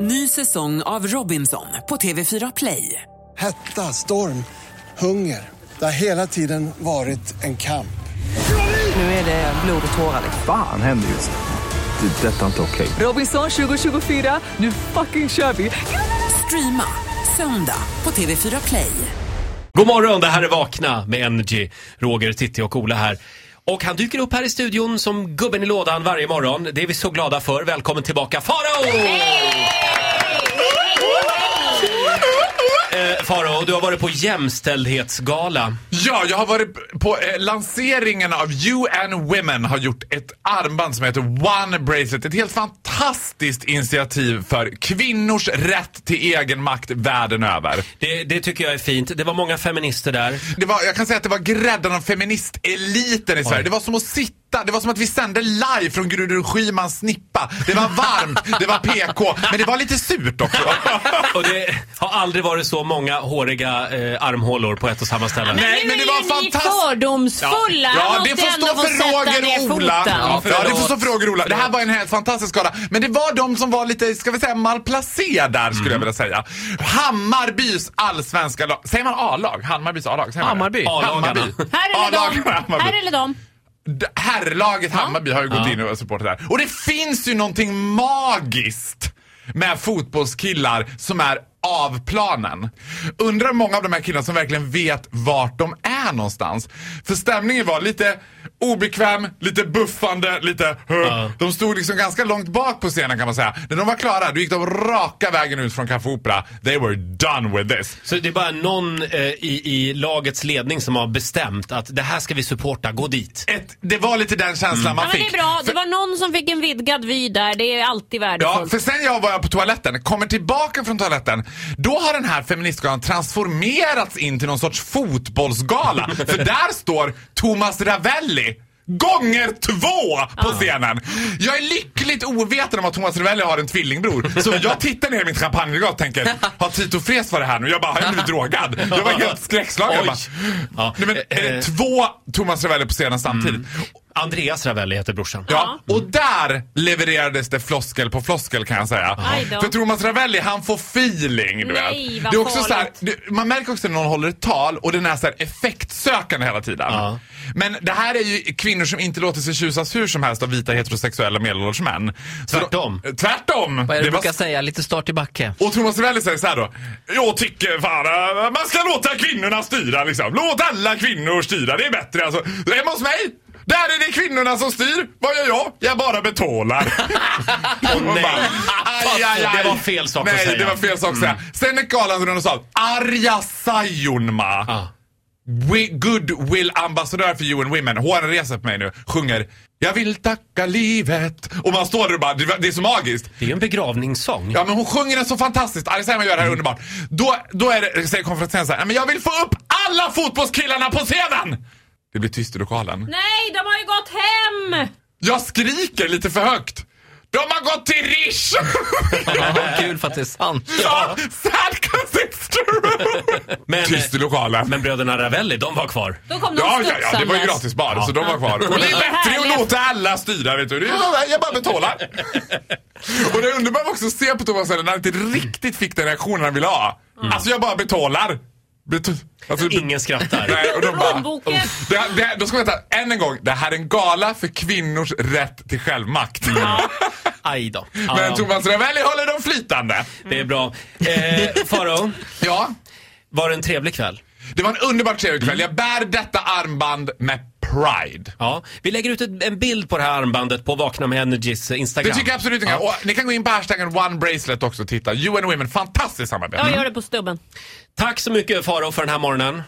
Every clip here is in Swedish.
Ny säsong av Robinson på TV4 Play. Hetta, storm, hunger. Det har hela tiden varit en kamp. Nu är det blod och tårar. Fan händer just nu. Det. är Detta är inte okej. Robinson 2024, nu fucking kör vi! Streama söndag på TV4 Play. God morgon, det här är Vakna med Energy. Roger, Titti och Ola här. Och han dyker upp här i studion som gubben i lådan varje morgon. Det är vi så glada för. Välkommen tillbaka Farao! Eh, Farao, du har varit på jämställdhetsgala. Ja, jag har varit på eh, lanseringen av UN Women har gjort ett armband som heter One Bracelet. Ett helt fantastiskt initiativ för kvinnors rätt till egen makt världen över. Det, det tycker jag är fint. Det var många feminister där. Det var, jag kan säga att det var grädden av feministeliten i Sverige. Det var som att sitta, det var som att vi sände live från Gudrun Schymans snippa. Det var varmt, det var PK, men det var lite surt också. Och det har aldrig varit så många håriga eh, armhålor på ett och samma ställe. Nej, men det var Ni är fantastiskt. fördomsfulla Ja, det måste får ändå stå få sätta för Roger ner och Ola. foten. Ja, förlåt. det får stå för Roger och Ola. Det här var en helt fantastisk skada. Men det var de som var lite, ska vi säga, malplacerade där skulle jag vilja säga. Hammarbys allsvenska lag. Säger man A-lag? Hammarbys A-lag? Säger man det? Hammarby. Hammarby. A-lagarna. Här eller A-lag, dem. Hammarby. Här eller dem. D- Herrlaget Hammarby har ju gått in och supportat där. Och det finns ju någonting magiskt med fotbollskillar som är av planen. Undrar hur många av de här killarna som verkligen vet vart de är någonstans. För stämningen var lite obekväm, lite buffande, lite... De stod liksom ganska långt bak på scenen kan man säga. När de var klara, då gick de raka vägen ut från Café Opera. They were done with this. Så det är bara någon eh, i, i lagets ledning som har bestämt att det här ska vi supporta, gå dit. Ett, det var lite den Mm. känslan man Ja, men fick. det är bra. Det var någon som fick en vidgad vy där. Det är alltid Ja, värdefullt. för sen jag var på toaletten, kommer tillbaka från toaletten, då har den här feministgalan transformerats in till någon sorts fotbollsgala. för där står Thomas Ravelli Gånger två på scenen! Jag är lyckligt ovetande om att Thomas Ravelli har en tvillingbror. Så jag tittar ner i mitt champagneglas och tänker, har Tito Fres varit här nu? Jag bara, har jag blivit drogad? Jag var helt skräckslagen. Jag Oj. bara, Ja. Eh, Mm. Nej, men, är det två Thomas Ravelli på scenen samtidigt? Andreas Ravelli heter brorsan. Ja, och där levererades det floskel på floskel kan jag säga. Aj då. För Thomas Ravelli, han får feeling. Du Nej, vet. vad det är också så här, farligt. det, man märker också när någon håller ett tal och den är så här effektsökande hela tiden. Ja. Men det här är ju kvinnor som inte låter sig tjusas hur som helst av vita heterosexuella medelålders män. Så Tvärtom. De, tvärtom! Vad är det Det du var- brukar säga? Lite start i backe. och Thomas Ravelli säger så här då. Jag tycker fan eh, man ska låta kvinnorna styra liksom. Låt alla kvinnor styra, det är bättre alltså. Hemma hos mig, där är det kvinnorna som styr. Vad gör jag? Jag bara betalar. Och nej. bara, aj, aj, aj. Det var fel sak att nej, säga. Mm. det var fel sak att säga. Sen är galan rund och sa Arja Sayonma. Ja. Wi- Goodwill-ambassadör för UN Women, hon reser på mig nu, sjunger Jag vill tacka livet. Och man står där och bara, det det är så magiskt. Det är ju en begravningssång. Ja men hon sjunger den så fantastiskt. Arja Saijonmaa gör det här underbart. Då, då är det, säger konferensen så här, "Nej, men jag vill få upp alla fotbollskillarna på scenen! Det blir tyst i lokalen. Nej, de har ju gått hem! Jag skriker lite för högt. De har gått till Rish! Ja, kul för att det är sant. ja, sad cause it's true! Men, tyst i lokalen. men bröderna Ravelli, de var kvar. Då kom de Ja, ja, ja, det studsandes. var ju gratisbar så de var kvar. Och det är bättre att låta alla styra vet du. Det är bara, jag bara betalar. Och det underbara var också att se på Thomas Ellen när han inte riktigt fick den reaktionen han ville ha. Alltså jag bara betalar. Bet- alltså, bet- Ingen skrattar. Nej, och de bara, Plånboken. Uff. det, här- det, här- då ska vi vänta, än en gång. Det här är en gala för kvinnors rätt till självmakt. Aj då. Men Ja, Thomas Ravelli håller dem flytande. det är bra. Eh, Faro, Ja, var det en trevlig kväll? det var en underbart trevlig kväll. Jag bär detta armband med pride. Ja. Vi lägger ut ett, en bild på det här armbandet på Vakna med Energys Det Instagram. tycker jag absolut inte. Och ni kan gå in på hashtaggen OneBracelet också och titta. UN Women, fantastiskt samarbete. Jag gör det på stubben. Tack så mycket Faro för den här morgonen.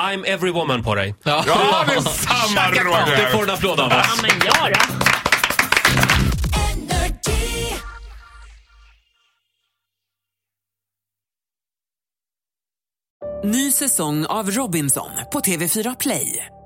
I'm every woman på dig. Ja, det är samma Du får Roger. en applåd av oss. Ja, men gör det. Ny säsong av Robinson på TV4 Play.